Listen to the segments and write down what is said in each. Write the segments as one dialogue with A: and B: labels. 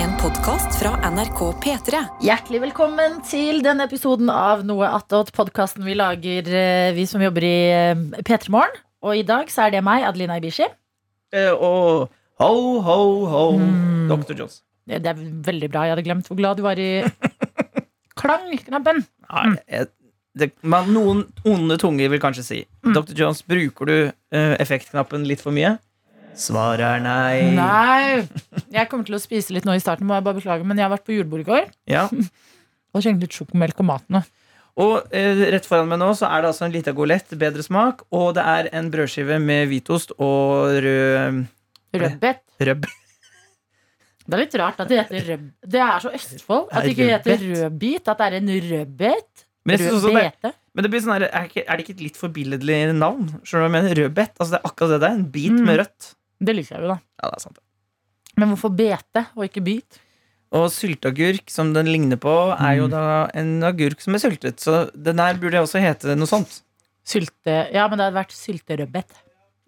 A: En podkast fra NRK P3.
B: Hjertelig velkommen til denne episoden av Noe attåt, podkasten vi lager, eh, vi som jobber i P3 Morgen. Og i dag så er det meg, Adelina Ibishi.
C: Eh, og ho, ho, ho, Dr. Jones.
B: Eh, Det er veldig bra, jeg hadde glemt hvor glad du var i klangknappen.
C: Nei, jeg, det, men noen onde tunger vil kanskje si Dr. Jones, bruker du eh, effektknappen litt for mye? Svaret er nei.
B: Nei! Jeg kommer til å spise litt nå i starten, må jeg bare beklage, men jeg har vært på julebord i går
C: Ja.
B: og skjenket litt sjokomelk og mat nå.
C: Og eh, rett foran meg nå så er det altså en lita golett, bedre smak, og det er en brødskive med hvitost og rød
B: Rødbet.
C: røbb.
B: Det er litt rart at det heter rød... Det er så Østfold at det ikke heter rødbit, at det er en rødbet.
C: Men, jeg synes også det,
B: Rødbete.
C: men det blir sånn her, er, ikke, er det ikke et litt forbilledlig navn? Skjønner du hva jeg mener? Rødbet. Altså, det er akkurat det der. En bit
B: Mm.
C: med rødt.
B: Det liker jeg jo, da.
C: Ja, det er sant.
B: Men hvorfor bete og ikke bit?
C: Og sylteagurk, som den ligner på,
B: Mm.
C: er jo da en agurk som er syltet. Så den her burde også hete noe sånt.
B: Sylte... Ja, men det hadde vært sylterødbet.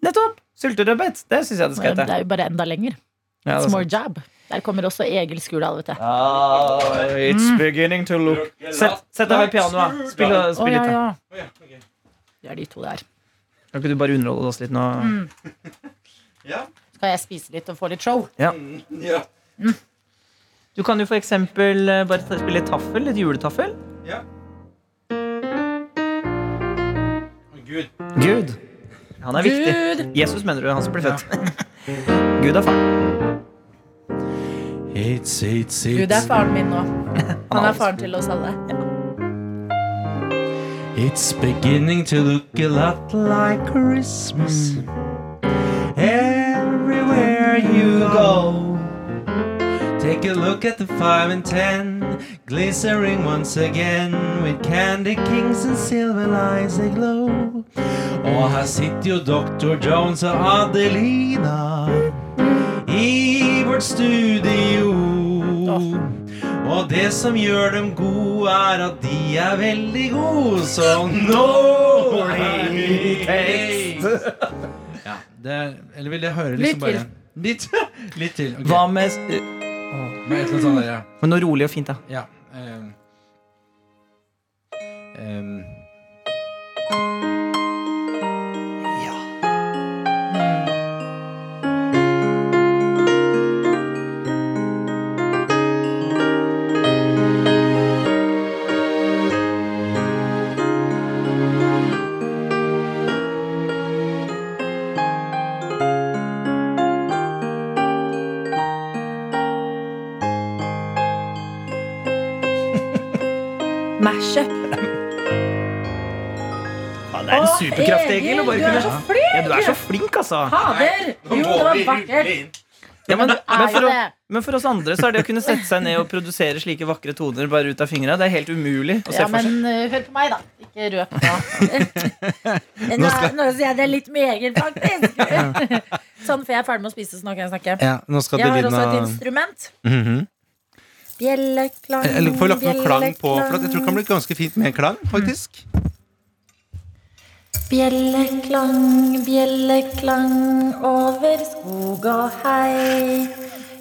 C: Nettopp! Sylterødbet. Det syns jeg det skal
B: Det
C: hete.
B: er jo bare enda lenger.
C: Ja, det
B: It's
C: er
B: more
C: sant.
B: jab. Der kommer også Egil Skurdal, vet du.
C: Ah, it's beginning to look Sett, sett deg ved pianoet. da. Spill,
B: Å,
C: spill
B: ja,
C: litt. da.
B: ja.
D: Oh,
B: Det er de to der.
C: Kan ikke du bare underholde oss litt nå?
B: Mm. Skal jeg spise litt og få litt show?
D: Ja.
C: Du kan jo for eksempel eh, bare ta- spille litt taffel. Litt juletaffel.
D: Gud.
C: Gud. Han er viktig. Jesus, mener du? Han som ble født. Gud er faren.
D: It's, it's,
B: Gud
D: it's,
B: er faren min nå. Han er
C: alles.
B: faren til oss alle.
D: it's beginning to look a lot like Christmas. Everywhere you go. Take a look at the 5 and 10, glycering once again with candy kings and silver lines they glow. Og her sitter jo Dr. Jones og Adelina i vårt studio. Og det som gjør dem gode, er at de er veldig gode, så nå Ja, det er, eller vil jeg høre
B: Litt
D: liksom bare Litt, litt til. ok.
C: Hva med eh,
D: Med et eller annet sånt der, ja.
C: Men noe rolig og fint, da.
D: Ja. ehm. Ehm.
A: Mashup.
C: Ja, det er en superkraft, Egil. å bare
B: Du er så
C: kunne-
B: flink!
C: Ja, du er så flink, altså.
B: Fader! Jo, det var vakkert.
C: Ja, men,
B: er
C: men,
B: jo
C: for,
B: det.
C: å- men for oss andre så er det å kunne sette seg ned og produsere slike vakre toner bare ut av fingra, det er helt umulig å se
B: Ja,
C: for seg.
B: men eh, hør på meg, da. Ikke røp nå. Men Nå, nå sier jeg det litt med Egil, faktisk. sånn, for jeg er ferdig med å spise, så nå kan jeg snakke.
D: Ja, nå skal
B: Jeg har
D: Adelina
B: også et instrument.
D: Mhm.
B: Bjelleklang,
D: Jeg- jeg Får lagt noe klang på, for at jeg tror det kan
B: bjelleklang.
D: bli ganske fint med klang, faktisk.
B: Bjelleklang, bjelleklang over skog og hei.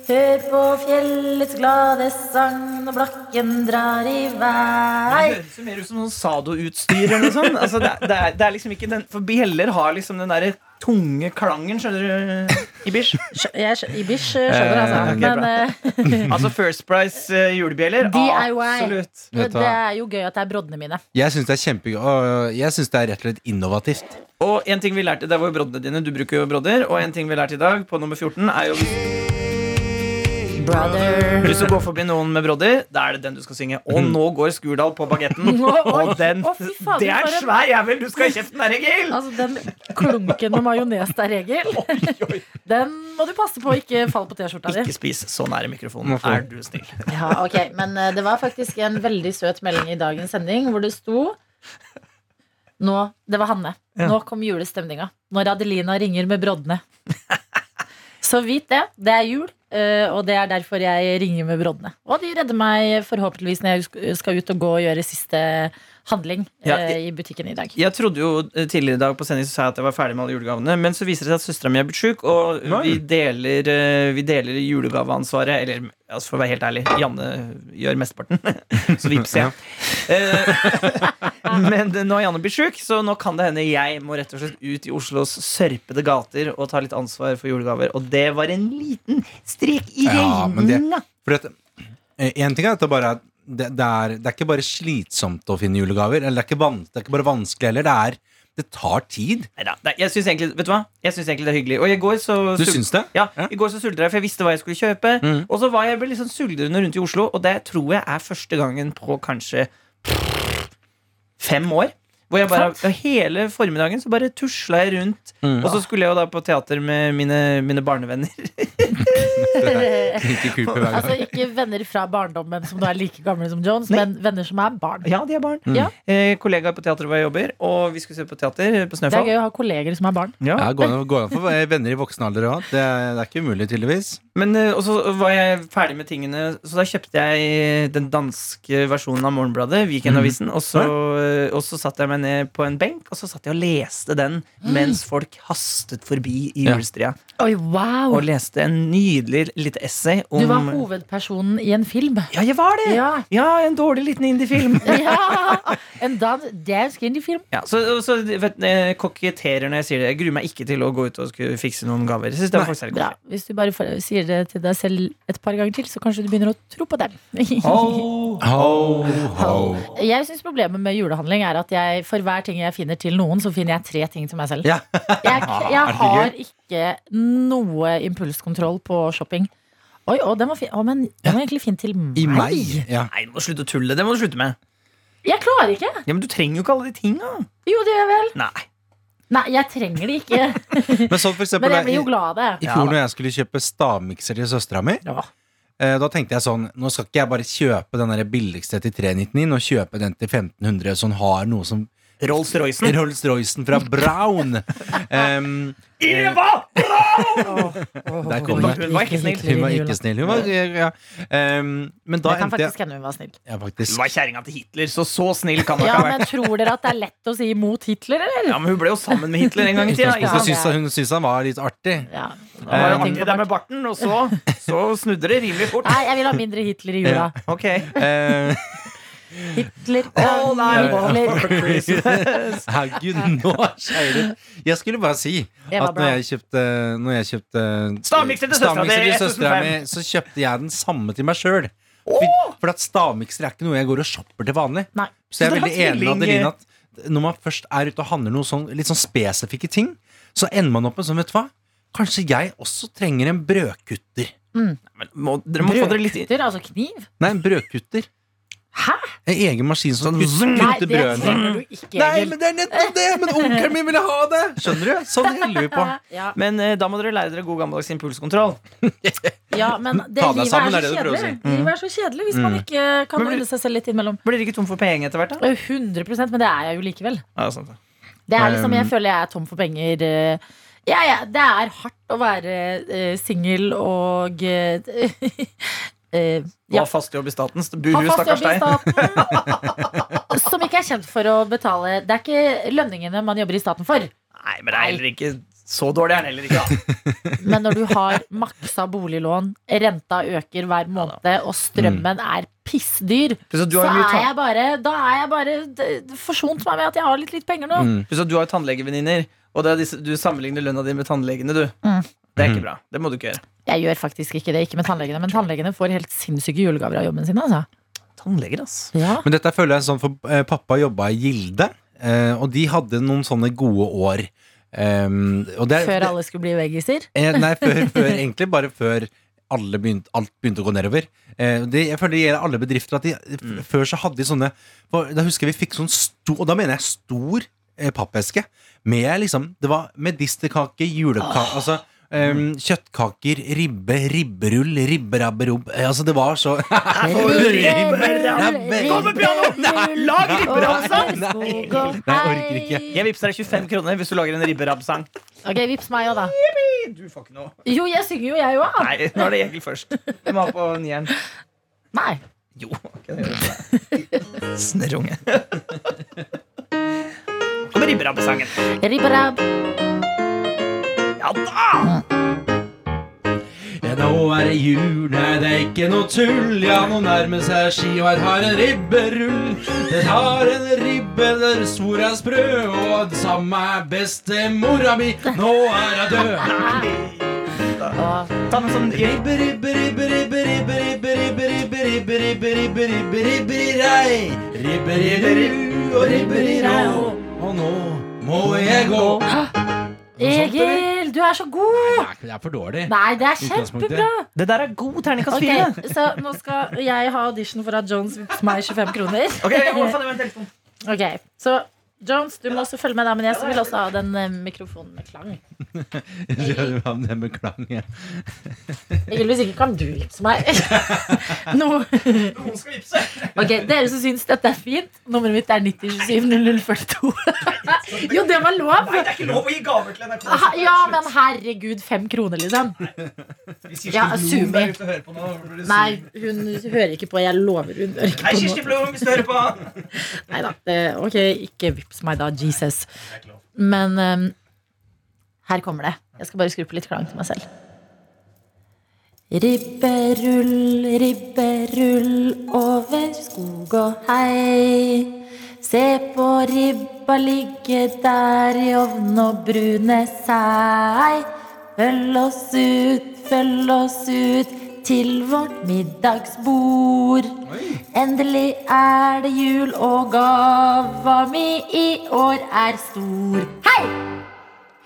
B: Hør på fjellets glade sang når blakken drar i
C: Det
B: vei.
C: høres jo mer ut som sånn Sado-utstyr eller noe sånt. Altså, det, er- det, er, det er liksom ikke den, For bjeller har liksom den derre tunge klangen, skjønner du, Ibish?
B: Skj- Jeg, skj- Ibish eh, skjønner, altså.
C: Eh, ok,
B: Men
C: bra.
B: eh,
C: Altså First Price eh, julebjeller?
B: DIY.
C: Absolutt.
D: Vet du
B: det
D: hva?
B: er jo gøy at det er broddene mine.
D: Jeg syns det er kjempegøy. og Jeg syns det er rett og slett innovativt.
C: Og en ting vi lærte, det var jo broddene dine. Du bruker jo brodder. Og en ting vi lærte i dag, på nummer 14, er jo hvis,
B: Brother.
C: hvis du går forbi noen med brodder, da er det den du skal synge. Og
D: Mhm.
C: nå går Skurdal på bagetten. Og den
B: Å, fy fader,
C: Det er
B: for
C: en
B: en-
C: svær jævel du skal i kjeften der, Egil!
B: Altså, den klunken med majones der, Egil, den må du passe på å ikke falle på T-skjorta di.
C: Ikke spis så nære mikrofonen.
D: Må få.
C: Er du snill.
B: Ja, ok, Men eh, det var faktisk en veldig søt melding i dagens sending hvor det sto nå, Det var Hanne.
C: Ja.
B: Nå kom julestemninga. Når Adelina ringer med broddene. Så vit det. Det er jul. Eh, og det er derfor jeg ringer med broddene. Og de redder meg forhåpentligvis når jeg sk- skal ut og gå og gjøre siste handling
C: Ja,
B: eh, i butikken i dag.
C: Jeg trodde jo eh, tidligere i dag på sending så sa jeg at jeg var ferdig med alle julegavene, men så viser det seg at søstera mi er blitt sjuk, og
E: Nei.
C: vi deler, eh, vi deler julegaveansvaret. Eller altså for å være helt ærlig, Janne gjør mesteparten. Så vippser jeg. Eh, men nå er Janne blitt sjuk, så nå kan det hende jeg må rett og slett ut i Oslos sørpede gater og ta litt ansvar for julegaver. Og det var en liten strek i
D: Ja, men det-
C: regninga.
D: For at, eh, en ting er at det bare er det, det, er, det er ikke bare slitsomt å finne julegaver. Eller det er ikke, van, det er ikke bare vanskelig heller. Det, er, det tar tid.
C: Neida, nei, jeg syns egentlig, vet du hva? Jeg synes egentlig det er hyggelig. Og i går så
D: Du
C: sul-
D: syns det?
C: Ja,
D: Ja.
C: I går så sultra jeg, for jeg visste hva jeg skulle kjøpe.
D: Mm.
C: Og så var jeg ble litt sånn suldrende rundt i Oslo, og det tror jeg er første gangen på kanskje fem år. Hvor jeg bare, og Hele formiddagen så bare tusla jeg rundt. Og så skulle jeg jo da på teater med mine, mine barnevenner.
D: Ikke Cooper hver gang.
B: altså ikke venner fra barndommen som du er like gamle som Jones,
C: Nei.
B: men venner som er barn.
C: Ja, de er barn.
B: Ja.
C: Eh, kollegaer på teatret hvor jeg jobber, og vi skulle se på teater eh, på
B: Det er
C: Snøfall.
B: gøy å ha kolleger som er barn.
C: Ja.
D: Ja, går an, går an for venner i voksen alder òg. Det, er- det er ikke umulig, tydeligvis.
C: Men, eh, og så var jeg ferdig med tingene, så da kjøpte jeg den danske versjonen av Morgenbladet. Weekendavisen
B: Mhm.
C: Og så, eh, og så satt jeg meg ned på en benk og så satt jeg og leste den
B: Ah.
C: mens folk hastet forbi i
D: Ja.
C: julestria.
B: Oi, wow
C: Og leste en nydelig lite essay om
B: Du var hovedpersonen i en film.
C: Ja, jeg var det! Ja,
B: Ja.
C: en dårlig liten indiefilm.
B: ja. En dan dansk indiefilm.
C: ja, så og så vet, du, jeg koketterer når jeg sier det. Jeg gruer meg ikke til å gå ut og skulle fikse noen gaver. Jeg synes det var faktisk veldig
B: Bra.
C: koselig.
B: Hvis du bare får, sier det til deg selv et par ganger til, så kanskje du begynner å tro på dem.
C: Ho,
D: Ho, ho.
B: Jeg synes Problemet med julehandling er at jeg, for hver ting jeg finner til noen, så finner jeg tre ting til meg selv.
D: Ja.
B: Jeg, jeg
D: det
B: har ikke noe impulskontroll på shopping. Oi, å, den var fin. Å, men den var egentlig fin til meg.
D: I meg. Ja.
C: Nei, nå må du slutte å tulle. Det må du slutte med.
B: Jeg klarer ikke!
C: Ja, Men du trenger jo ikke alle de tinga.
B: Jo, det gjør jeg vel.
C: Nei.
B: Nei, jeg trenger det ikke.
D: Men sånn for eksempel
B: Men jeg
D: da,
B: blir jo
D: i,
B: glad av det.
D: i fjor når jeg skulle kjøpe stavmikser til søstera mi,
B: Ja.
D: eh, da tenkte jeg sånn Nå skal ikke jeg bare kjøpe den der billigste til 399, nå kjøper jeg den til 1500, så hun har noe som
C: Rolls-Roycen.
D: Rolls-Roycen fra Brown. Em, der kom
C: Hun var-
D: den.
C: hun var ikke snill.
D: Hun var ikke snill. Hun var, ja. Em, men da
B: Jeg kan
D: endte jeg
B: faktisk hende hun var snill.
D: ja, faktisk.
C: Hun var kjerringa til Hitler, så så snill kan hun
B: Ja,
C: ikke ha vært.
B: men tror dere at det er lett å si imot Hitler, eller?
C: Ja, men hun ble jo sammen med Hitler en gang i tida.
D: Utgangspunktet
C: Ja.
B: Ja, det
D: syntes
B: er-
D: hun syntes han var litt artig.
B: Ja. det
C: Det
B: var
C: var
B: jo ting
C: artig
B: på
C: der med
B: bart.
C: barten, og så, så snudde det rimelig fort.
B: Nei, jeg vil ha mindre Hitler i jula.
C: Ok.
D: Eh,
B: Hitler,
C: All I want
B: Hitler.
C: for Christmas.
D: Herregud, nå skjer det Jeg skulle bare si
B: var
D: at når
B: bra.
D: jeg kjøpte, når jeg kjøpte
C: Stavmikser til søstera
D: stavmikser
C: di,
D: til søstera
C: 1005.
D: mi, så kjøpte jeg den samme til meg sjøl. For, for at stavmikser er ikke noe jeg går og shopper til vanlig.
B: Nei.
D: Så jeg
C: Så
D: er
C: dere
D: veldig
C: har
D: enig
C: tvilling-
D: med Adeline at når man først er ute og handler noe sånn, litt sånn spesifikke ting, så ender man opp med sånn, vet du hva? Kanskje jeg også trenger en brødkutter.
C: Men må, dere må få dere litt inn.
B: Brødkutter, altså kniv?
D: Nei, en brødkutter.
B: Hæ?
D: En egen maskin som
C: Sånn
D: kutter
B: Nei,
D: kutter
B: det
D: brødene.
B: trenger du ikke,
D: Nei,
B: Egil.
D: men det er nettopp det! Men onkelen min ville ha det! Skjønner du? Sånn holder vi på.
B: Ja,
C: Men eh, da må dere lære dere god gammeldags impulskontroll.
B: ja, men det
D: Ta deg
B: livet
D: sammen,
B: er
D: er
B: så
D: det du prøver å Mm.
B: kjedelig. Livet er så kjedelig hvis man ikke kan
C: Men blir-
B: holde seg selv litt innimellom.
C: Blir dere ikke tom for penger etter hvert, da?
B: 100 men det er jeg jo likevel.
C: Ja, sant det.
B: Det er liksom, Jeg føler jeg er tom for penger. eh, Ja, ja, det er hardt å være eh, singel og eh, eh,
C: Du
B: ja,
C: har fast jobb i staten. så
B: ha
C: Buhu,
B: fast
C: stakkars
B: jobb i
C: deg.
B: staten. Som ikke er kjent for å betale. Det er ikke lønningene man jobber i staten for.
C: Nei, men det er heller ikke så dårlig er den heller ikke, da.
B: Men når du har maksa boliglån, renta øker hver måned, og strømmen er pissdyr,
C: Pluss at Mm. du
B: så
C: har jo mye
B: er
C: ta-
B: jeg bare, da er jeg bare d- forsont meg med at jeg har litt litt penger nå.
C: Pluss at du har jo tannlegevenninner, og det er disse, du sammenligner lønna di med tannlegene, du.
B: Mm.
C: Det er ikke bra. Det må du ikke gjøre.
B: Jeg gjør faktisk ikke det, ikke med tannlegene, men tannlegene får helt sinnssyke julegaver av jobben sin, altså.
C: Tannleger, ass.
B: Ja.
D: Men dette føler jeg sånn, for eh, pappa jobba i Gilde, eh, og de hadde noen sånne gode år. Ehm, og det, er-
B: Før alle skulle bli veggiser.
D: Eh, nei, før, før, egentlig bare før alle begynte, alt begynte å gå nedover. Eh, det, jeg føler det gjelder alle bedrifter. At de, f- Før så hadde de sånne for, Da husker jeg vi fikk sånn stor Og da mener jeg stor eh, pappeske. Med liksom Det var medisterkake, julekake Altså ehm, kjøttkaker, ribbe, ribberull, ribberabberubb eh, Altså, det var så
C: Kom med piano! Lag
B: sånn.
C: ribberabsang!
D: Nei, jeg orker ikke.
C: Jeg vippser deg 25 kroner hvis du lager en ribberabbsang.
B: Ok, vips meg òg, da.
C: du får ikke noe.
B: Jo, jeg synger jo, jeg òg.
C: Nei, nå er det Egil først. Du må ha på nieren.
B: Nei.
C: Jo, kan jeg gjøre det for deg. Snørrunge. Kommer ribberabbesangen.
B: Ribberab.
C: Ja da!
E: Ja, nå er det jul, nei det er ikke noe tull. Ja, nå nærmer seg ski, og her har en ribberull. Den har en ribbe der svor er sprø, og den samme er bestemora mi. Nå er hun død.
B: Og
C: Ta en sånn
E: Ribbe, ribbe, ribbe, ribbe, ribbe, ribbe, ribbe, ribbe, ribbe, ribbe, ribbe, ribbe, ribbe, rei. Ribbe, ribbe, ru, og ribbe, rirå. Og nå må jeg gå.
B: Egil, du er så god!
E: Nei, Det er for dårlig.
B: Nei, det er kjempebra.
C: Det der er god terningkast
B: Ok,
C: fire.
B: Så nå skal jeg ha audition for at Jones vippet meg 25 kroner.
C: Ok, jeg må få det med en telefon.
B: Ok, Så Jones, du må også følge med, da, men jeg vil også ha den eh, mikrofonen med klang.
E: Gjør du ham det med klang, ja.
B: Egil, hvis ikke kan du vippse meg. Nå.
C: Noen skal vippse.
B: Ok, Dere som syns dette er fint, nummeret mitt er 90270042. Jo, det var lov!
C: Nei, det er ikke lov å gi gaver til NRK.
B: Ha- Ja, men herregud, fem kroner, liksom. Ja, Sumi. Nei, hun hører ikke på. Jeg lover. Hun hører ikke
C: Hei,
B: på
C: Kirsti
B: noe.
C: Blom, hvis du hører på.
B: Nei da. det- Ok, ikke vips meg da, Jesus. Men ehm, her kommer det. Jeg skal bare skru på litt klang til meg selv. Ribberull, ribberull over skog og hei. Se på ribba ligge der i ovn og brune seg. Følg oss ut, følg oss ut til vårt middagsbord. Endelig er det jul, og gava mi i år er stor. Hei!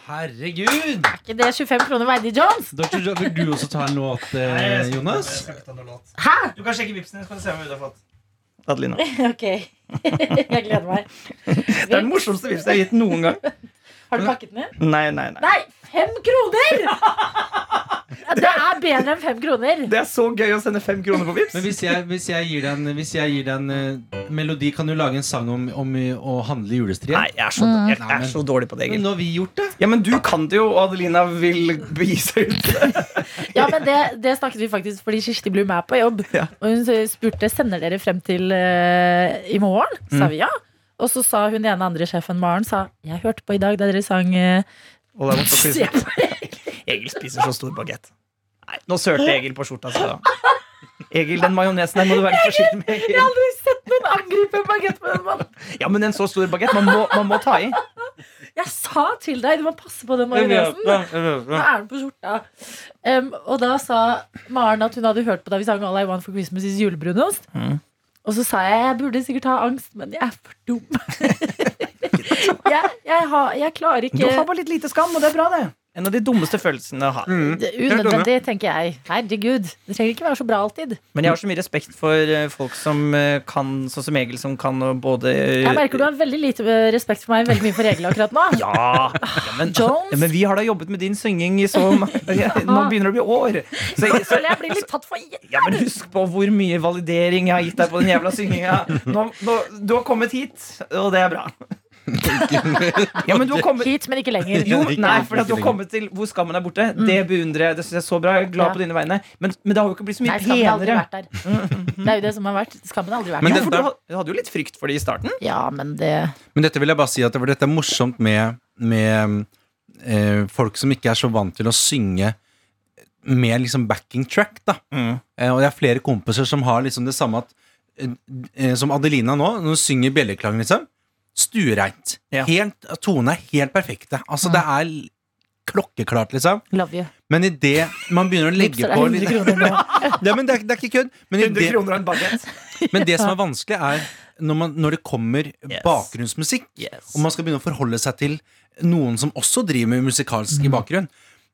E: Herregud!
B: Er ikke det 25 kroner Veidi Jones?
E: Dr. Joe, vil du også ta en låt,
C: Nei,
E: eh,
C: jeg skal ikke ta-
E: Jonas?
C: jeg skal ikke ta noe låt.
B: Hæ?
C: Du kan sjekke vipsen din, så kan du se hva du har fått. Adelina.
B: Ok, jeg gleder meg.
C: Det er den morsomste vipsen jeg har gitt noen gang.
B: Har du pakket den inn?
C: Nei, nei, nei.
B: Nei, fem kroner! Ja, Det er bedre enn fem kroner.
C: Det er så gøy å sende fem kroner på vips.
E: Men hvis jeg, hvis jeg gir deg en, hvis jeg gir deg en eh, melodi, kan du lage en sang om, om eh, å handle julestrie?
C: Nei, jeg er så, jeg
E: Nei,
C: er
E: men-
C: så dårlig på det,
E: Men
C: Egil.
E: nå har vi gjort det.
C: Ja, men du kan det jo, og Adelina vil begi seg ut.
B: Ja, men det, det snakket vi faktisk fordi Kirsti Blum er på jobb.
C: Ja.
B: Og hun spurte sender dere frem til eh, i morgen. Så sa vi ja. Og så sa hun ene andre sjefen, Maren, sa jeg hørte på i dag da dere sang eh,
C: Og det er vondt å
B: Se
C: spise.
B: på
C: Egil spiser så stor bagett. Nei, nå sølte Egil på skjorta si. da. Egil, den majonesen der må du være litt forsiktig med.
B: Jeg har
C: Egil.
B: aldri sett noen angripe en bagett på den måten.
C: Ja, men en så stor bagett, man, må- man må ta i.
B: Jeg sa til deg, du må passe på den majonesen. Nå er den på skjorta. Em, og da sa Maren at hun hadde hørt på da vi sang All I Want for Christmas is julebrunost.
C: Mhm.
B: Og så sa jeg jeg burde sikkert ha angst, men jeg er for dum. jeg, jeg, har, jeg klarer ikke
C: Du har bare litt lite skam, og det er bra, det. En av de dummeste følelsene å ha.
B: Det er Unødvendig, tenker jeg. Herregud. Det trenger ikke være så bra alltid.
C: Men jeg har så mye respekt for eh, folk som eh, kan, sånn som Egil, som kan å både
B: Jeg merker du har veldig lite eh, respekt for meg, veldig mye for reglene akkurat nå.
C: Ja, ja, men,
B: Jones.
C: ja, men vi har da jobbet med din synging i så mange Nå begynner det å bli år. Så, så,
B: Føler jeg blir litt tatt for gitt.
C: ja, men husk på hvor mye validering jeg har gitt deg på den jævla synginga. Nå, nå, du har kommet hit, og det er bra. Ja, men du har kommet
B: Hit, men ikke lenger.
C: jo,
D: Ikke-
C: nei, for at du har
D: ikke lenger.
C: kommet til hvor skammen er borte. Det beundrer jeg. Det synes jeg er så bra. Jeg er glad
B: Mm. Ja.
C: på dine vegne. Men, men det har jo ikke blitt så mye
B: Nei, skammen har aldri
C: penere.
B: vært der. Det er jo det som har vært. Skammen har aldri vært
D: Men
C: Ja,
B: der.
C: for
D: det-
C: du had- du hadde jo litt frykt for det i starten.
B: Ja, men det
D: Men dette vil jeg bare si at det, for dette er morsomt med, med eh, folk som ikke er så vant til å synge med liksom backing track, da. Eh, og jeg har flere kompiser som har liksom det samme at eh, eh, Som Adelina nå, når hun synger bjelleklang, liksom. Stuereint.
C: Ja.
D: Helt- Tonene er helt perfekte. Altså, det er l- klokkeklart, liksom.
B: Love you.
D: Men idet man begynner å legge
B: Vipser
D: på
B: deg
D: litt
B: 100 kroner nå.
D: ja, men det, er, det er ikke kødd. Men, i
C: 100
D: det,
C: kroner og en bagett.
D: men det som er vanskelig, er når, man, når det kommer
C: Yes.
D: bakgrunnsmusikk,
C: Yes.
D: og man skal begynne å forholde seg til noen som også driver med musikalsk
C: Mm.
D: i bakgrunn,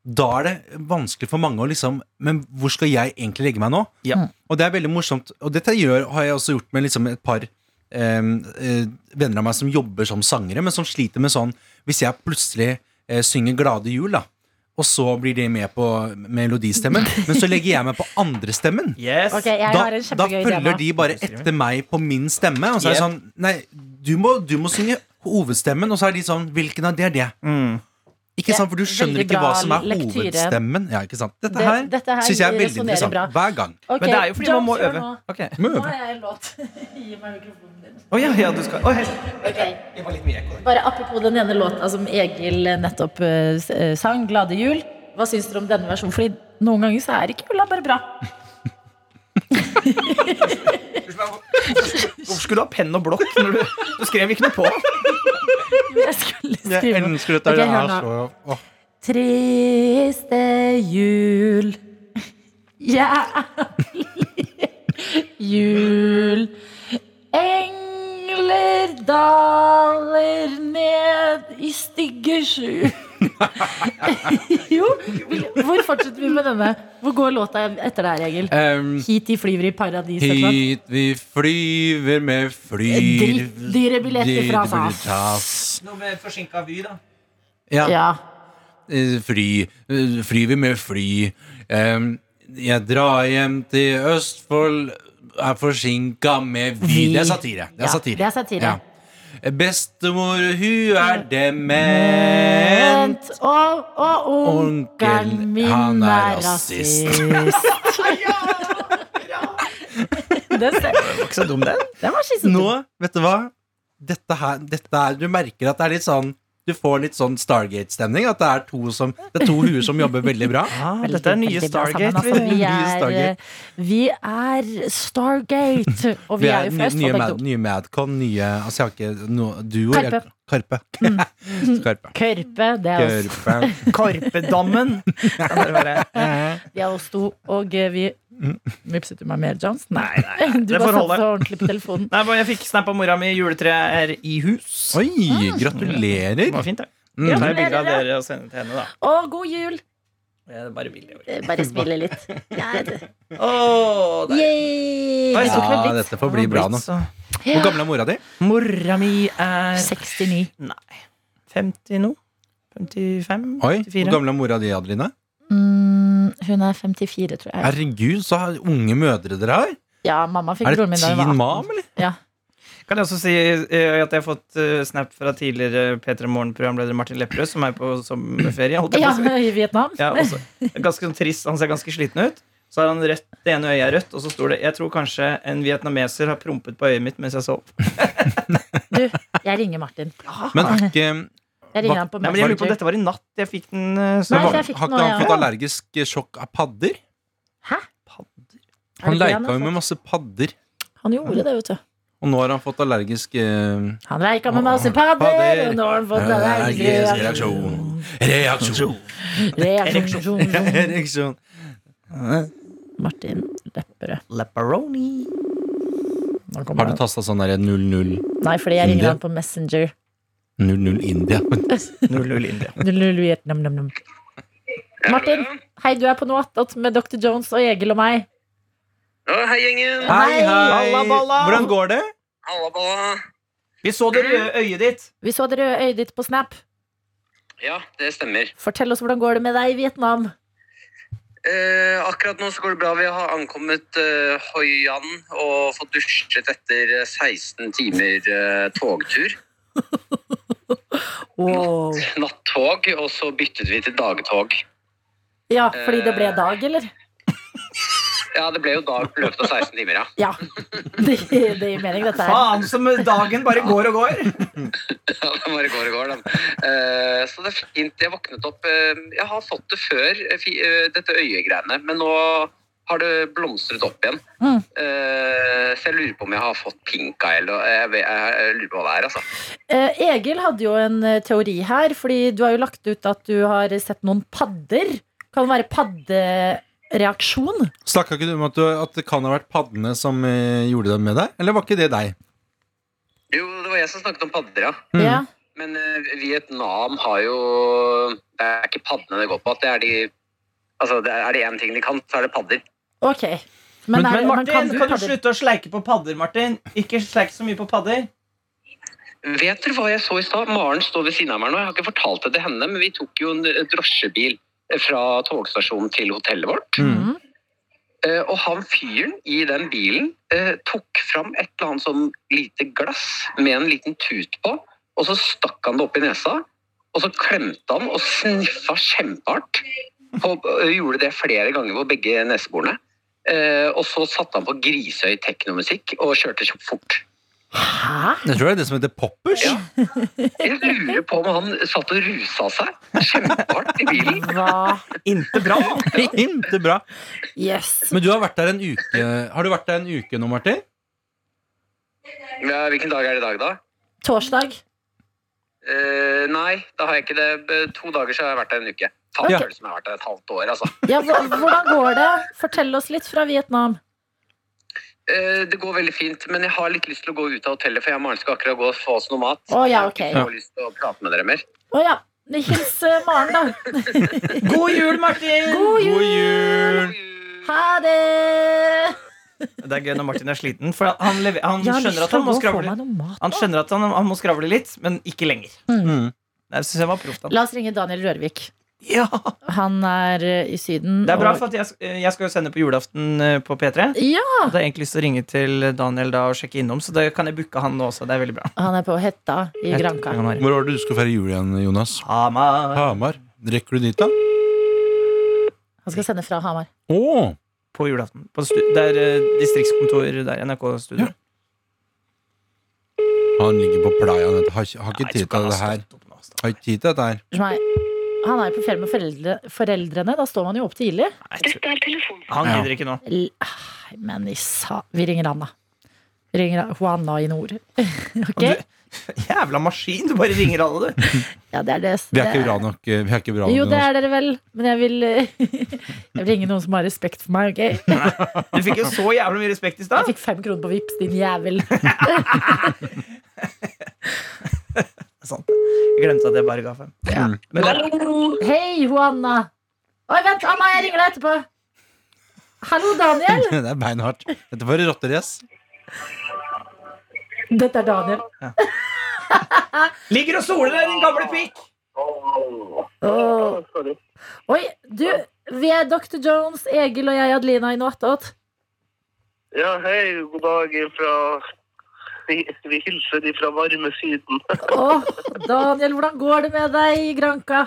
D: da er det vanskelig for mange å liksom Men hvor skal jeg egentlig legge meg nå?
C: Ja. Mm.
D: Og det er veldig morsomt. Og dette gjør, har jeg også gjort med liksom et par em, eh, venner av meg som jobber som sangere, men som sliter med sånn Hvis jeg plutselig eh, synger 'Glade jul', da, og så blir de med på melodistemmen, men så legger jeg meg på andrestemmen.
C: Yes.
B: Ok, jeg
D: Da,
B: har en
D: da
B: kjempegøy idé
D: følger
B: nå.
D: de bare etter meg på min stemme. Og så er
C: Yep.
D: det sånn Nei, du må, du må synge hovedstemmen. Og så er de sånn Hvilken av det er det? Ikke sant, for du skjønner
B: Veldig
D: ikke hva
B: bra
D: som er
B: lektyre.
D: hovedstemmen. Ja, ikke sant? Dette
B: Det-
D: her,
B: dette her
D: syns jeg er veldig
B: resonnerer
D: interessant.
B: bra.
D: Hver gang.
B: Ok,
C: Men det er jo fordi man må
B: Jones,
C: øve.
B: gjør nå.
C: Ok.
B: Nå
D: Må øve.
B: har jeg en låt. Gi meg mikrofonen din.
C: Å, ja, ja, du skal Å, hei.
B: Ok. Bare apropos den ene låta som Egil nettopp eh, s- eh, sang, 'Glade jul'. Hva syns dere om denne versjonen? Fordi noen ganger så er ikke jula bare bra.
C: Hvorfor skulle du ha penn og blokk når du, du skrev ikke noe på?
B: Jeg skulle
D: Jeg
B: skrive
D: elsker dette.
B: Ok,
D: altså. det
B: hør
D: er
B: nå.
D: så åh.
B: Triste jul. Jævlig jul. Engler daler ned i stygge skjul. jo, vil- hvor fortsetter vi med denne? Hvor går låta etter det her, Egil?
D: Ehm,
B: Hit de flyver i paradis. et eller annet.
D: Hit vi flyver med flyr
B: Drittdyre Eh, billetter fra
D: Dyre
B: SAS.
D: SAS.
C: Noe med forsinka Vy, da.
D: Ja.
B: Ja.
D: eh, Fly, eh, flyver med fly. Ehm, jeg drar hjem til Østfold, er forsinka med Vy.
B: Vy.
D: Det er satire. Det
B: Ja,
D: er satire.
B: det er satire.
D: Ja. Bestemor, hun er dement.
B: Vent, og, og onkelen
D: Onkelen,
B: min
D: han er
B: er rasist.
D: rasist.
B: Den
C: Det var ikke så dum, den.
B: den var skissete.
D: Nå, vet du hva? Dette her, dette er, du merker at det er litt sånn Du får litt sånn Stargate-stemning. At det er to, som, det er to huer som jobber veldig bra.
C: Ah,
B: Veldig,
C: dette er nye
B: veldig bra sammen,
C: Stargate.
B: altså. vi,
D: Nye
B: er,
D: Stargate.
B: vi er Stargate, og vi, er jo fra
D: nye, nye,
B: Østfold begge
D: Mad,
B: to.
D: nye Madcon, nye altså, jeg har ikke noe duo. jeg- Karpe.
B: Mm.
D: Karpe.
B: Kørpe, det er oss.
D: Karpe.
C: Karpedammen. Ja, det er bare-
B: Vi er oss to, og eh, vi Vipset du meg mer, Johns? Nei, nei. Du
C: det
B: bare
C: får
B: satt
C: holde.
B: så ordentlig på telefonen.
C: Nei, bare Jeg fikk snap av mora mi. Juletreet er i hus.
D: Oi,
C: Det var
D: gratulerer.
C: fint, det.
D: Mm.
C: Det er
B: Gratulerer.
C: bilde av dere og sende til henne, da.
B: Å, god jul!
C: Det er bare bilde.
B: Eh, Bare smile litt. Ja, det-
C: Åh, det er-
B: Yay!
C: Oi,
B: Jeg tok med
D: Ja,
B: blitz.
D: dette får bli bra nå. Hvor gammel er mora di?
C: Mora mi er
B: 69.
C: Nei. 50 nå? 55?
D: Oi, hvor
C: 54?
D: gammel er mora di, Adeline?
B: Mm, hun er 54, tror jeg.
D: Herregud, så har unge mødre dere har.
B: Ja, mamma fikk
D: Er
B: broren
D: det
B: min da hun var 18.
D: teen mam, eller?
B: Ja.
C: Kan jeg også si eh, at jeg har fått eh, snap fra tidligere P3 Morgen-programleder Martin Lepperød, som er på sommerferie. Holdt jeg
B: ja,
C: på å si.
B: i Vietnam.
C: Ja, også. Ganske sånn trist. Han ser ganske sliten ut. Så har han rødt, Det ene øyet er rødt, og så står det 'Jeg tror kanskje en vietnameser har prompet på øyet mitt mens jeg sov'.
B: Du, jeg ringer Martin.
D: Men er ikke
B: Jeg
D: Hva-
B: ringer han på
C: Nei, men jeg lurer på
B: Messenger.
C: om dette var i natt jeg fikk den. eh,
D: Men
B: Nei,
D: var-
C: snart.
B: så jeg fikk
D: har
B: den
D: ikke han
B: nå,
D: fått
B: ja.
D: allergisk sjokk av padder?
B: Hæ?
C: Padder?
B: Er
D: Han
B: det det han
D: leika
B: har
D: jo med
B: fått?
D: masse padder,
B: Han gjorde det, vet du.
D: og nå har han fått allergisk eh,
B: Han leika med masse padder,
D: Padder.
B: og nå har han fått
D: Allergisk
B: allergisk
D: reaksjon. Reaksjon.
B: reaksjon.
D: Ereksjon.
B: sånn- Martin Lepperød.
C: Pepperoni.
B: Nå kommer
D: Har du
B: han.
D: tasta sånn derre 00
B: Nei, fordi jeg ringer
D: India?
B: han på Messenger.
D: 00 India?
C: Null, null, India.
B: Null, null, Vietnam, nam, nam. Martin, hei, du er på noe attåt med Dr. Jones og Egil og meg.
F: Å, hei, gjengen.
D: Hei, hei!
C: Balla, balla.
D: Hvordan går det?
F: Halla, balla.
C: Vi så det røde øyet ditt.
B: Vi så det røde øyet ditt på Snap.
F: Ja, det stemmer.
B: Fortell oss hvordan går det med deg i Vietnam.
F: Eh, akkurat nå så går det bra. Vi har ankommet eh, Hoi An og fått dusjet etter eh, 16 timer eh, togtur.
B: Wow.
F: Nattog, og så byttet vi til dagtog.
B: Ja, fordi det ble dag, eller?
F: Ja, det ble jo dag i løpet av 16 timer,
B: Ja.
F: ja.
B: Det, det gir mening, dette her.
C: Faen som dagen bare går og går.
F: Ja, det bare går og går, da. Eh, så det er fint. Jeg våknet opp eh, Jeg har fått det før, eh, fi- eh, dette øyegreiene, men nå har det blomstret opp igjen.
B: Mm.
F: Eh, så jeg lurer på om jeg har fått pink eye, eller eh, jeg, vet- jeg lurer på hva det er, altså.
B: Eh, Egil hadde jo en eh, teori her, fordi du har jo lagt ut at du har sett noen padder. Kan det være paddereaksjon?
D: Snakka ikke du om at, du, at det kan ha vært paddene som eh, gjorde det med deg? Eller var ikke det deg?
F: Jo, det var jeg som snakket om padder, ja.
D: Mm.
B: Ja.
F: Men eh, Vietnam har jo Det er ikke paddene det går på. At det er de Altså, det er- er det én ting de kan, så er det padder.
B: Ok.
D: Men-
B: er-
C: Men Martin, kan du,
B: padder?
C: slutte å sleike på padder, Martin? Ikke sleik så mye på padder.
F: Vet dere hva jeg så i stad? Maren står ved siden av meg nå. Jeg har ikke fortalt det til henne, men vi tok jo en drosjebil fra togstasjonen til hotellet vårt.
B: Mhm.
F: Eh, Og han fyren i den bilen eh, tok fram et eller annet sånn lite glass med en liten tut på, og så stakk han det opp i nesa. Og så klemte han og sniffa kjempehardt. På, eh, gjorde det flere ganger på begge neseborene. Eh, og så satte han på grisehøy teknomusikk og kjørte kjapt fort.
B: Hæ?
D: Jeg tror det er det som heter poppers.
F: Ja. Jeg lurer på om han satt og rusa seg kjempehardt i bilen.
B: Hva?
C: Inte bra!
D: Himte bra.
B: Yes.
D: Men du har vært der en uke Har du vært der en uke nå, Martin?
F: Ja, hvilken dag er det i dag, da?
B: Torsdag.
F: Eh, nei, da har jeg ikke det. B- To dager så har jeg vært der en uke. Faen,
D: Ja.
F: føles som jeg har vært der et halvt år, altså.
B: Ja, hva- hvordan går det? Fortell oss litt fra Vietnam.
F: Eh, det går veldig fint, men jeg har litt lyst til å gå ut av hotellet, for jeg og Maren skal akkurat gå og få oss noe mat.
B: Å, ja, ok.
F: Jeg har ikke så lyst til å prate med dere mer.
B: Å ja. Hils eh, Maren, da.
C: God jul, Martin!
B: God jul!
D: jul!
B: Ha det!
C: Det er gøy når Martin er sliten, for han, lever, han
B: Jeg har lyst
C: skjønner at
B: til å
C: han må
B: gå og få
C: skravle.
B: meg noe mat.
C: Han skjønner at han, han må skravle litt, men ikke lenger.
D: Mm.
C: Det synes jeg var proft. av han.
B: La oss ringe Daniel Rørvik.
C: Ja.
B: Han er eh, i Syden.
C: Det er bra,
B: og-
C: for at jeg, eh, jeg skal jo sende på julaften eh, på P3.
B: Ja!
C: Og da har jeg egentlig lyst til å ringe til Daniel da og sjekke innom, så da kan jeg booke han nå også. Det er veldig bra.
B: Han er på Hetta i Granca.
C: Hamar.
D: Hvor var det du skulle feire jul igjen, Jonas? Hamar. Rekker du dit, da?
B: Han skal sende fra Hamar.
D: Å!
C: På julaften. På stu det er eh, distriktskontor der. NRK-studio.
D: Ja. Han ligger på playaen. vet du. Har, ikke- har ikke
C: Nei, så
D: tid
C: kan
D: til
C: han
D: det her.
C: stå opp nå, altså? stå opp.
D: Har ikke tid til dette her.
B: Som er- Han er jo på ferie med foreldre, foreldrene. Da står man jo opp tidlig.
C: Nei, jeg tror- Han
D: Ja.
C: gidder ikke nå.
B: L- Ai, Men i sa... Vi ringer han, da. Vi ringer han- Juana i nord. ok?
C: Du- Jævla maskin! Du bare ringer alle, du.
B: Ja, det er det.
D: Vi er ikke bra nok. eh, Vi er ikke bra nok
B: Jo, det
D: Jonas.
B: er dere vel. Men jeg vil, jeg vil ringe noen som har respekt for meg. ok?
C: Du fikk jo så jævla mye respekt i
B: Jeg
C: stad.
B: fikk fem kroner på Vipps, din jævel.
C: Sant. Jeg glemte at jeg bare ga fem.
D: Mm.
C: Men det,
B: Hei, Juana. Oi, vent, Anna, jeg ringer deg etterpå. Hallo, Daniel.
D: det er beinhardt. Dette var rotterace.
B: Dette er Daniel.
C: ligger og soler der, din gamle pikk!
B: Åh. Oi, du. Vi er Dr. Jones, Egil og jeg, Adelina, i noe attåt.
G: Ja, hei, god dag fra Vi, vi hilser ifra varme Syden.
B: Åh, Daniel, hvordan går det med deg i Granka?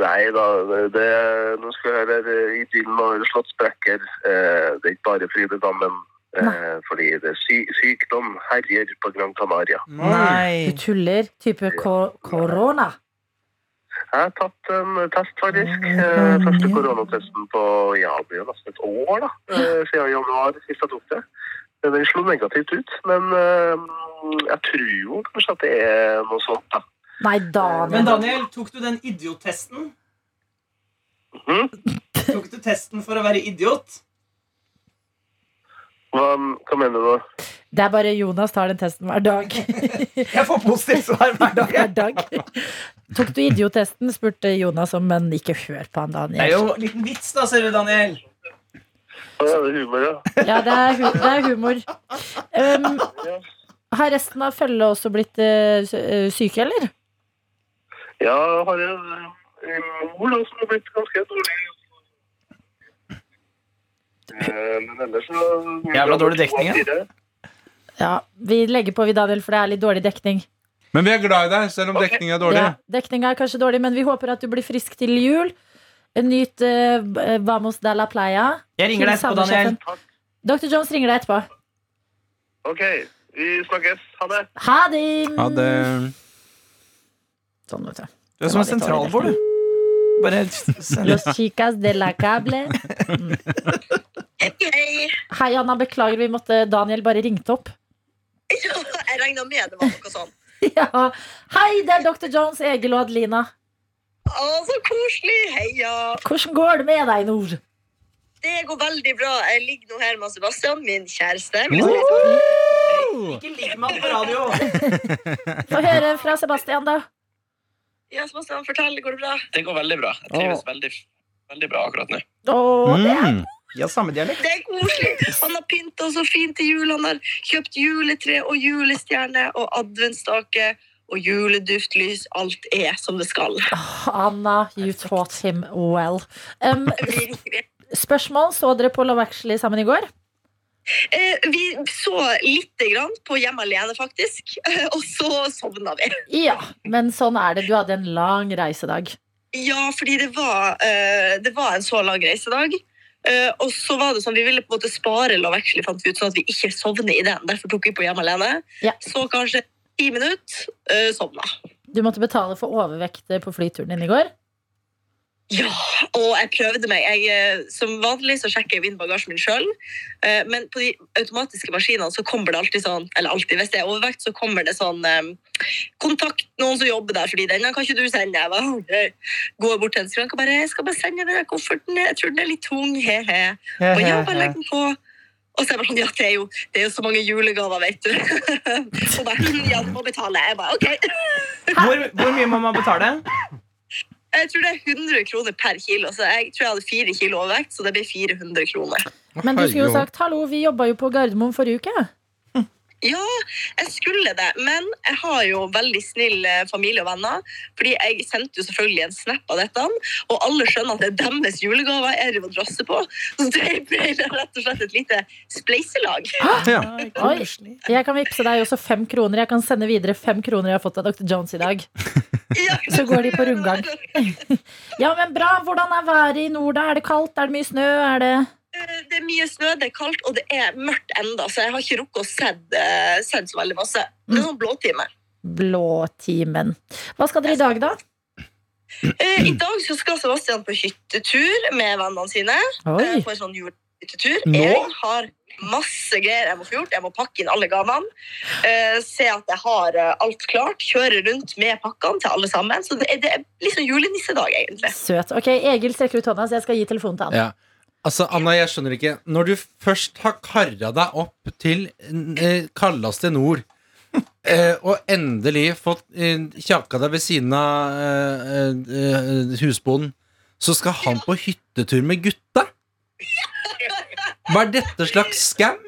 G: Nei da, det, det- nå skal jeg være i bilen over Slottsbrekker. Eh, det er ikke bare Frydedammen, eh, fordi det er sy sykdom herjer på Gran Canaria.
B: Du
D: Mm.
C: Nei.
B: tuller. Type ko korona.
G: Jeg har tatt en test, faktisk. Eh, første koronatesten på ja, det blir jo nesten et år, da. Eh, siden januar sist jeg tok det. Eh, Den slo negativt ut, men eh, jeg tror jo kanskje at det er noe sånt, da.
B: Nei,
C: Men
B: Daniel.
C: Daniel, tok du den idiottesten? Tok du testen for å være idiot?
G: Hva, hva mener du?
B: Det er bare Jonas tar den testen hver dag.
C: Jeg får positivt svar hver dag.
B: hver dag. Tok du idiottesten, spurte Jonas om, men ikke hør på han,
C: Det er
B: Daniel.
C: jo en liten vits, da, ser du, Daniel.
G: Å, ja, det er humor, ja.
B: Ja, det er, hu det er humor. Um, har resten av følget også blitt eh, sy- eh, syke, eller?
G: Ja, jeg har en en mor da, som har blitt ganske dårlig. Eh, Men ellers så
C: Jævla dårlig dekning, ja.
G: ja.
B: Ja, Vi legger på, vi, Daniel, for det er litt dårlig dekning.
D: Men vi er glad i deg, selv om dekningen er dårlig.
B: Ja, Dekninga er kanskje dårlig, men vi håper at du blir frisk til jul. Nyt eh, b- eh, Vamos de la Playa.
C: Jeg ringer deg
B: Til
C: etterpå, Daniel.
B: savnesjefen. Dr. Jones ringer deg etterpå.
G: OK, vi snakkes. Ha det.
B: Ha det!
D: Ja, det
B: Sånn, vet du.
C: Du er som en sentralbord, du. Bare send
B: Los chicas de la cable.
H: Hei.
B: Hei, Anna. Beklager, vi måtte Daniel bare ringte opp.
H: Jeg regna med det var noe sånn.
B: Ja. Hei, det er Dr. Jones, Egil og Adelina.
H: Å, så koselig! Heia!
B: Hvordan går det med deg, Nord?
H: Det går veldig bra. Jeg ligger nå her med Sebastian, min kjæreste.
C: Ikke ligg med han på radio.
B: Få høre fra Sebastian, da.
H: Ja, Sebastian, fortell. Går det bra?
F: Det går veldig bra. Jeg
B: trives
F: veldig, bra akkurat nå.
B: Åh, det er
D: mm.
C: Ja, samme dialekt.
H: Det er koselig. Han har pynta så fint til jul. Han har kjøpt juletre og julestjerne og adventsstake og juleduftlys. Alt er som det skal.
B: Anna, you taught him well. Um,
H: Virkelig.
B: spørsmål. Så dere på Love Actually sammen i går?
H: Eh, vi så lite grann på Hjemme alene, faktisk, Eh, og så sovna vi.
B: Ja, men sånn er det. Du hadde en lang reisedag.
H: Ja, fordi det var, eh, det var en så lang reisedag. Eh, og så var det sånn, Vi ville på en måte spare lovvekselig, fant vi ut, sånn at vi ikke sovner i den. Derfor tok vi på Hjemme alene.
B: Ja.
H: Så kanskje ti minutter, eh, sovna.
B: Du måtte betale for overvekt eh, på flyturen din i går.
H: Ja, og jeg prøvde meg. Jeg, eh, som vanlig så sjekker jeg jo inn bagasjen min sjøl, men på de automatiske maskinene så kommer det alltid sånn Eller alltid, hvis det er overvekt, så kommer det sånn eh, Kontakt noen som jobber der, fordi den kan ikke du sende. Jeg bare, «Ok». går bort til en skranke og bare Jeg skal bare sende den der kofferten, jeg tror den er litt tung, he-he. Og ja, bare legg den på. Og så er jeg bare sånn, ja, det er jo, det er jo så mange julegaver, vet du. og bare, «Hm, ja, du må betale. Jeg bare, ok.
C: Hvor, hvor mye må man betale?
H: Jeg tror det er 100 kroner per kilo, så jeg tror jeg hadde fire kilo overvekt, så det blir 400 kroner.
B: Men du skulle jo sagt 'hallo, vi jobba jo på Gardermoen forrige uke'.
H: Ja, jeg skulle det, men jeg har jo veldig snill eh, familie og venner, fordi jeg sendte jo selvfølgelig en snap av dette, og alle skjønner at det er deres julegaver jeg driver og drasser på, så det ble rett og slett et lite spleiselag.
D: Ja.
B: Oi. Jeg kan vippse deg også fem kroner. Jeg kan sende videre fem kroner jeg har fått av Dr. Jones i dag.
H: Ja.
B: Så går de på rundgang. Ja, men bra. Hvordan er været i nord, da? Er det kaldt? Er det mye snø? Er det
H: Eh, Det er mye snø, det er kaldt, og det er mørkt enda, så jeg har ikke rukket å sett, eh, sett så veldig masse.
B: Mm.
H: Det er sånn blåtime.
B: Blåtimen. Hva skal dere i dag, da?
H: Eh, I dag så skal Sebastian på hyttetur med vennene sine. eh,
B: Oi.
H: på en sånn julehyttetur.
C: Nå?
H: Jeg har masse greier jeg må få gjort. Jeg må pakke inn alle gavene. eh, se at jeg har eh, alt klart. Kjøre rundt med pakkene til alle sammen. Så det er, det er liksom julenissedag, egentlig.
B: Søt. Ok, Egil strekker ut hånda, så jeg skal gi telefonen til han.
D: Ja. Altså, Anna, jeg skjønner ikke. Når du først har kara deg opp til eh, kaldeste nord, eh, og endelig fått eh, kjaka deg ved siden av eh, eh, eh, husbonden, så skal han på hyttetur med gutta? Hva er dette slags scam?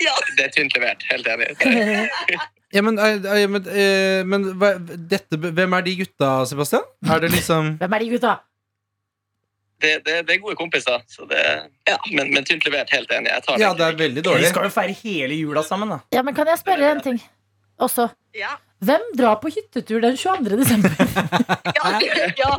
F: Det er tynt levert. Helt enig.
D: Ja, men, eh, eh, men, eh, men hva, dette, hvem er de gutta, Sebastian? Er det liksom
B: Hvem er de gutta?
F: Det, det, det er gode kompiser, så det,
H: Ja.
F: men, men tynt levert. Helt enig. Jeg tar
D: Ja, det er veldig
C: Vi
D: dårlig.
C: skal jo feire hele jula sammen, da.
B: Ja, men Kan jeg spørre en ting også?
H: Ja.
B: Hvem drar på hyttetur den 22. desember?
H: Ja, ja.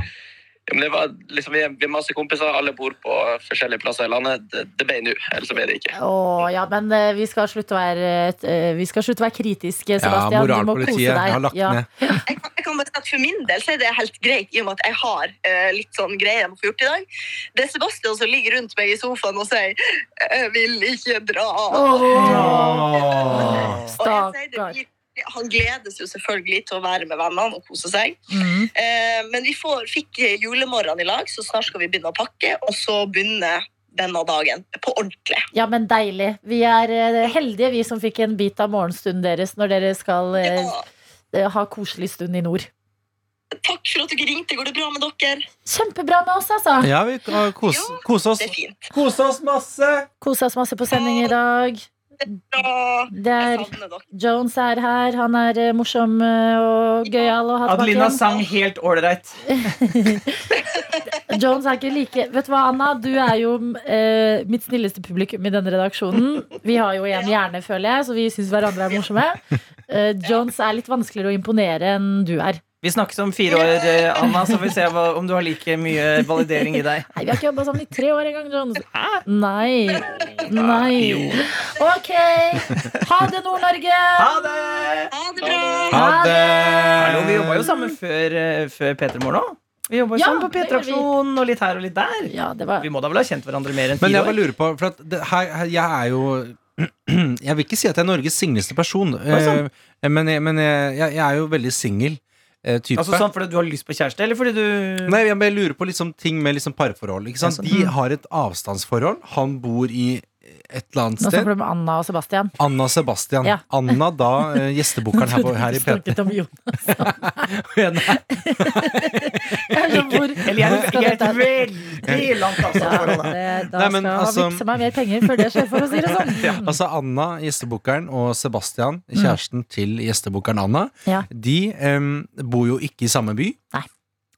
F: Ja, men det var, liksom, vi, er, vi er masse kompiser, alle bor på forskjellige plasser i landet. Det, det ble nå, ellers så ble det ikke.
B: Å ja, men eh, vi skal slutte å være, eh, vi skal slutte å være kritiske,
D: Ja,
B: Sebastian. du må kose
D: moralpolitiet
B: deg.
D: har lagt
B: ja.
D: ned.
H: Jeg, kan- jeg kan bare si at For min del så er det helt greit, i og med at jeg har eh, litt sånn greier jeg må få gjort i dag. Det er Sebastian som ligger rundt meg i sofaen og sier 'Jeg vil ikke dra'.
B: Åh,
H: Og jeg sier det
B: Stakkar.
H: blir- han gledes jo selvfølgelig til å være med vennene og kose seg.
B: Mm.
H: Eh, men vi får, fikk julemorgen i lag, så snart skal vi begynne å pakke. Og så begynner denne dagen på ordentlig.
B: Ja, men deilig. Vi er eh, heldige, vi som fikk en bit av morgenstunden deres når dere skal eh,
H: Ja,
B: eh, ha koselig stund i nord.
H: takk for at dere ringte. Går det bra med dere?
B: Kjempebra med oss, altså.
D: Ja, vi kan kose, kose oss.
H: Det er fint.
D: Kose oss masse!
B: Kosa oss masse på sending i dag.
H: Bra.
B: Det
H: Jeg
B: er
H: savner dere.
B: Jones er her. Han er eh, morsom eh, og gøyal å ha tilbake
C: Adelina
B: igjen.
C: sang helt ålreit.
B: Jones er ikke like Vet du hva, Anna? Du er jo eh, mitt snilleste publikum i denne redaksjonen. Vi har jo én hjerne, føler jeg, så vi syns hverandre er morsomme. Eh, Jones er litt vanskeligere å imponere enn du er.
C: Vi snakkes om fire år, eh, Anna, så får vi se hva, om du har like mye validering i deg.
B: Nei, vi har ikke jobba sammen i tre år engang, Jones. Nei. Nei. Ok. Ha det, Nord-Norge!
C: Ha det!
H: Ha det bra.
D: Ha
C: Hallo, vi jobba jo
D: det!
C: sammen før, eh, før P3 Morgen òg. Vi jobba jo
B: Ja,
C: sammen på
B: det gjorde vi.
C: P3-aksjonen og litt her og litt der.
B: Ja, det var
C: Vi må da vel ha kjent hverandre mer enn
D: Men
C: fire
D: jeg bare
C: år?
D: lurer på For at det, her, her, jeg er jo Jeg vil ikke si at jeg er Norges singleste person,
C: sånn.
D: eh, men, jeg, men jeg, jeg jeg er jo veldig singel eh, type.
C: Altså sånn fordi du har lyst på kjæreste, eller fordi du
D: Nei, jeg bare lurer på liksom ting med liksom parforhold. Ikke sant?
C: Ja, sånn.
D: De har et avstandsforhold. Han bor i et eller annet
B: Nå
D: sted.
B: snakker du om Anna og Sebastian.
D: Anna Sebastian.
B: Ja.
D: Anna, da eh, gjestebokeren her, på- her i
B: Jeg trodde du
D: P3.
B: snakket om Jonas.
D: Nei,
B: Jeg er sånn, hvor-
C: Eller jeg,
B: hvor skal
C: jeg er
B: dette
C: et veldig langt
B: Ja,
C: avstand fra deg.
B: det, da
D: Nei, men
B: skal
D: altså-
B: han vippse meg mer penger før det skjer, for å si det sånn.
C: Mm.
D: Altså Anna, gjestebokeren, og Sebastian, kjæresten til gjestebokeren Anna,
B: Ja.
D: de em, bor jo ikke i samme by.
B: Nei.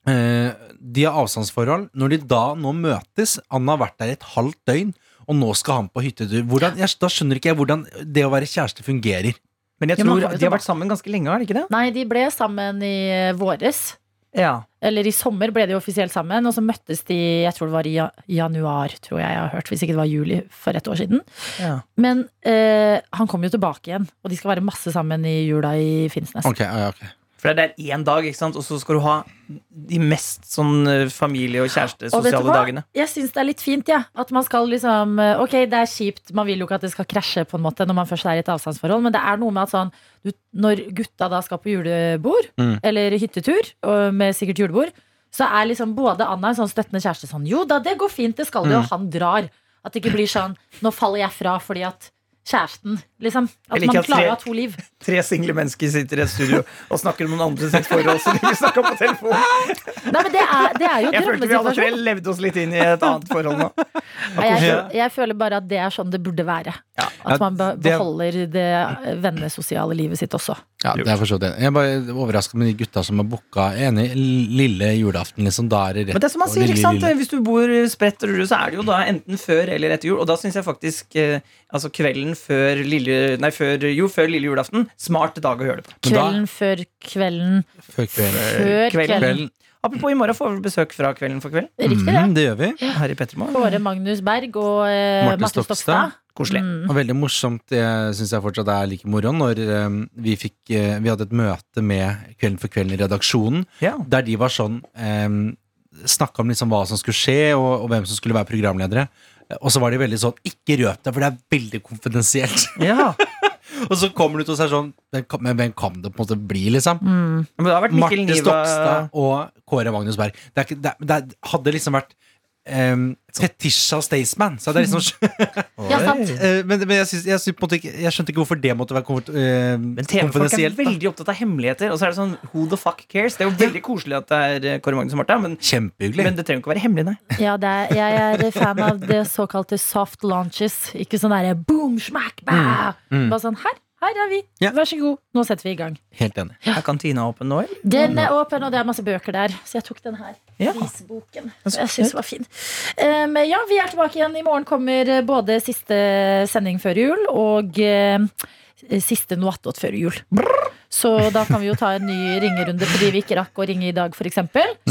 D: Eh, de har avstandsforhold. Når de da nå møtes Anna har vært der et halvt døgn, og nå skal han på hyttetur. Hvordan, jeg, da skjønner ikke jeg hvordan det å være kjæreste fungerer.
C: Men jeg
B: Ja, men
C: tror
B: har vi
C: de har
B: tilbake-
C: vært sammen ganske lenge, har de ikke det?
B: Nei, de ble sammen i eh, våres.
C: Ja.
B: Eller i sommer ble de offisielt sammen, og så møttes de jeg tror det var i ja- januar, tror jeg jeg har hørt, hvis ikke det var juli for et år siden.
C: ja.
B: Men eh, han kom jo tilbake igjen, og de skal være masse sammen i jula i Finnsnes.
D: Ok, ja, ja, ok.
C: For det er der én dag, ikke sant? og så skal du ha de mest sånn eh, familie- og
B: Og vet du
C: kjærestesosiale
B: hva?
C: dagene.
B: Jeg syns det er litt fint, ja. At man skal liksom eh, Ok, det er kjipt, man vil jo ikke at det skal krasje på en måte når man først er i et avstandsforhold, men det er noe med at sånn du, Når gutta da skal på julebord,
D: Mm.
B: eller hyttetur, og med sikkert julebord, så er liksom både Anna en sånn støttende kjæreste sånn Jo da, det går fint, det skal det,
C: Mm.
B: og han drar. At det ikke blir sånn Nå faller jeg fra fordi at kjæresten, liksom. At
C: Jeg liker
B: man
C: at tre-
B: klarer å ha to liv.
C: Tre single mennesker sitter i et studio og snakker om noen andre sitt forhold. Så de ikke snakker på telefon
B: Nei, men det er, det er jo
C: Jeg følte vi alle tre
B: drømmesituasjonen.
C: levde oss litt inn i et annet forhold nå.
B: Nei, Jeg, føl- jeg føler bare at det er sånn det burde være.
D: Ja,
B: At man be-
D: det-
B: beholder det eh, vennesosiale livet sitt også.
D: Ja, det er for så vidt det. Jeg er bare overraska med de gutta som har booka enig lille julaften. Liksom, da er det rett
C: Men det er som han
D: på
C: sier,
D: lille,
C: ikke sant?
D: lille.
C: Hvis du bor spredt og rull, så er det jo da enten før eller etter jul. Og da syns jeg faktisk eh, altså kvelden før lille, nei, før, jo, før lille julaften smart dag å gjøre det på.
D: Men da-
B: Kvelden før kvelden
D: Før Eh, kvelden.
B: før
C: kvelden.
B: kvelden.
D: Kvelden.
C: Apropos, i morgen får vi besøk fra Kvelden for kvelden
B: Riktig det.
D: Mm, det gjør vi.
C: her i Pettermoen.
B: Kåre Magnus Berg og eh,
D: Marte
B: Marte
D: Stokstad.
B: Stokstad.
C: Koselig.
B: Mm.
D: Og veldig morsomt, det syns jeg fortsatt er like moro, når eh, vi, fikk, eh, vi hadde et møte med Kvelden for kvelden-redaksjonen,
C: Ja.
D: der de var sånn um, Snakka om liksom hva som skulle skje, og, og hvem som skulle være programledere. Og så var de veldig sånn Ikke røp deg, for det er veldig konfidensielt.
C: ja.
D: og så kommer du til oss her sånn "Men kan- Men hvem kan det på en måte bli, liksom?
B: Mm.
C: Men det har vært Mikkel
D: Marte
C: Niva
D: Stokstad og Kåre Magnus Berg. Det, er ikke, det, er- det er- hadde liksom vært um, Fetisha og Staysman. Så det er liksom,
B: Ja, sant.
D: Eh, men, men jeg, synes, jeg, synes på en måte ikke, jeg skjønte ikke hvorfor det måtte være konfort- eh,
C: Men TV-folk er
D: konfidensielt. da.
C: veldig opptatt av hemmeligheter. Og så er det sånn who the fuck cares? Det er jo veldig koselig at det er eh, Kåre Magnus og Martha, men,
D: Kjempehyggelig.
C: men det trenger jo ikke være hemmelig, nei.
B: Ja, det er, jeg er fan av det såkalte soft launches. Ikke sånn derre boom, smack, bah.
D: Mm.
B: Bare sånn her, her er vi.
D: Ja.
B: Vær så god, nå setter vi i gang.
D: Helt enig.
C: Er kantina åpen nå, eller?
B: Den er åpen, og det er masse bøker der, så jeg tok den her.
C: Ja.
B: Visboken.
C: så
B: Jeg syns den var fin. Um, ja, vi er tilbake igjen. I morgen kommer eh, både siste sending før jul og eh, siste Noatot før jul. Så da kan vi jo ta en ny ringerunde fordi vi ikke rakk å ringe i dag, f.eks.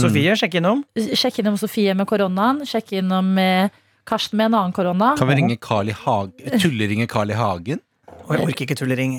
C: Sofie, sjekk innom.
B: Sjekke innom Sofie med koronaen. Sjekke innom eh, Karsten med en annen korona.
D: Kan vi ringe Carl I. Hagen? Tulleringe Carl I. Hagen?
C: Og jeg orker ikke tullering.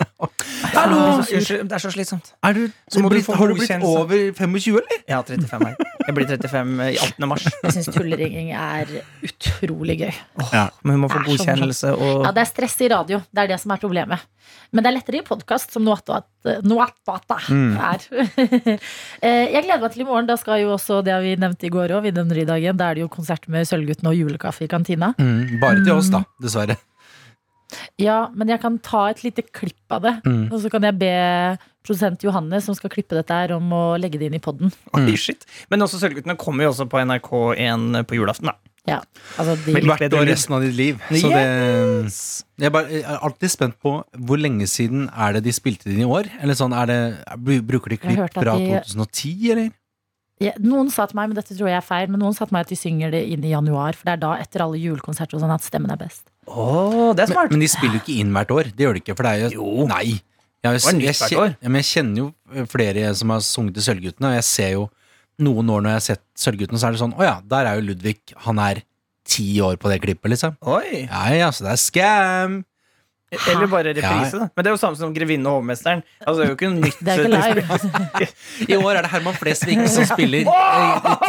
D: Hallo!
C: Unnskyld, det er så slitsomt.
D: Er du,
C: Så må du
D: blitt,
C: få
D: har du blitt
C: godkjennelse.
D: over 25, eller?
C: Jeg har 35 her. Jeg blir 35 i 18. mars.
B: Jeg syns tulleringing er utrolig gøy.
C: Men hun må
B: Det er
C: få
B: så
C: godkjennelse og
B: Ja, det er stress i radio. Det er det som er problemet. Men det er lettere i podkast, som Noatata er. Eh, Jeg gleder meg til i morgen. Da skal jo også det vi nevnte i går òg, Vinnerdagen. Da er det jo konsert med Sølvguttene og julekaffe i kantina.
D: bare til oss, da. Dessverre.
B: Ja, men jeg kan ta et lite klipp av det.
D: Mm.
B: Og så kan jeg be produsent Johanne, som skal klippe dette her, om å legge det inn i poden.
C: Oi, shit. Men også Sølvguttene kommer jo også på NRK1 på julaften, da.
B: Ja, altså de,
C: Men-
D: Hvert år resten av ditt liv. Så det, jeg, er bare, jeg er alltid spent på hvor lenge siden er det de spilte den i år? Eller sånn, er det, bru- Bruker de
B: Jeg har
D: klipp
B: hørt at
D: fra
B: de-
D: 2010, eller?
B: ja, noen sa til meg, men dette tror jeg er feil, men noen sa til meg at de synger det inn i januar, for det er da, etter alle julekonserter og sånn, at stemmen er best.
C: Åh, det er
D: Men,
C: smart.
D: men de spiller jo ikke inn hvert år. Det gjør de ikke, for det er jo
C: Jo.
D: Nei. Jeg,
C: var nytt
D: jeg,
C: hvert
D: kjen-
C: år.
D: ja, men jeg kjenner jo eh, flere som har sunget til Sølvguttene, og jeg ser jo noen år når jeg har sett Sølvguttene, så er det sånn Å ja, der er jo Ludvig. Han er ti år på det klippet, liksom.
C: Oi.
D: Ja ja, så det er scam!
C: Eller bare reprise,
D: Ja.
C: da. Men det er jo samme som Grevinnen og hovmesteren. Altså, det er jo ikke noe nytt. eh,
B: Det er ikke live.
D: I år er det Herman Flesvig som spiller eh,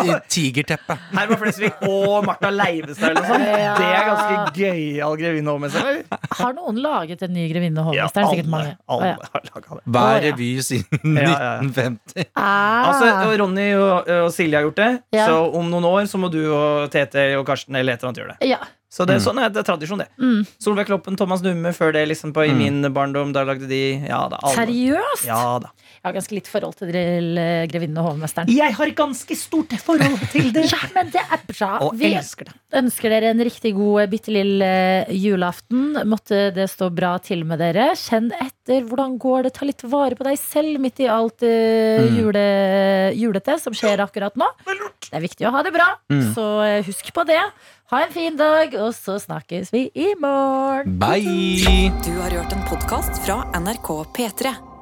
D: i- i Tigerteppet.
C: Herman Flesvig og Martha Leivestad eller noe sånt. Det er ganske gøyal Grevinnen og hovmesteren.
B: Har noen laget en ny grevinne og
C: Ja,
B: hovmesteren? Sikkert mange. Å,
C: alle, alle
B: ja.
C: har laga det.
B: Å,
D: Hver
B: ja.
D: revy siden
C: Ja, ja, ja.
D: 1950.
B: Ah,
C: Altså, og Ronny og, og Silje har gjort det,
B: Ja.
C: så om noen år så må du og Tete og Karsten eller et eller annet gjøre det.
B: Ah, ja.
C: Så det, er sånn er det er tradisjon, det.
B: Mm.
C: Solveig Kloppen, Thomas Numme før det, liksom på, i min barndom. Da lagde de Ja da. alle-
B: Seriøst?
C: Ja, da.
B: Jeg har ganske litt forhold til eh, grevinne og hovmesteren.
C: Jeg har ganske stort forhold til det.
B: Ja, men det er bra.
C: Og
B: Vi
C: elsker det.
B: ønsker dere en riktig god eh, bitte lille eh, julaften. Måtte det stå bra til med dere. Kjenn etter. Hvordan går det? Ta litt vare på deg selv midt i alt eh,
C: Mm.
B: jule,
C: Mm.
B: julete som skjer akkurat nå. Det er viktig å ha det bra, så eh, husk på det. Ha en fin dag, og så snakkes vi i morgen.
D: Bye!
A: Du har hørt en podkast fra NRK P3.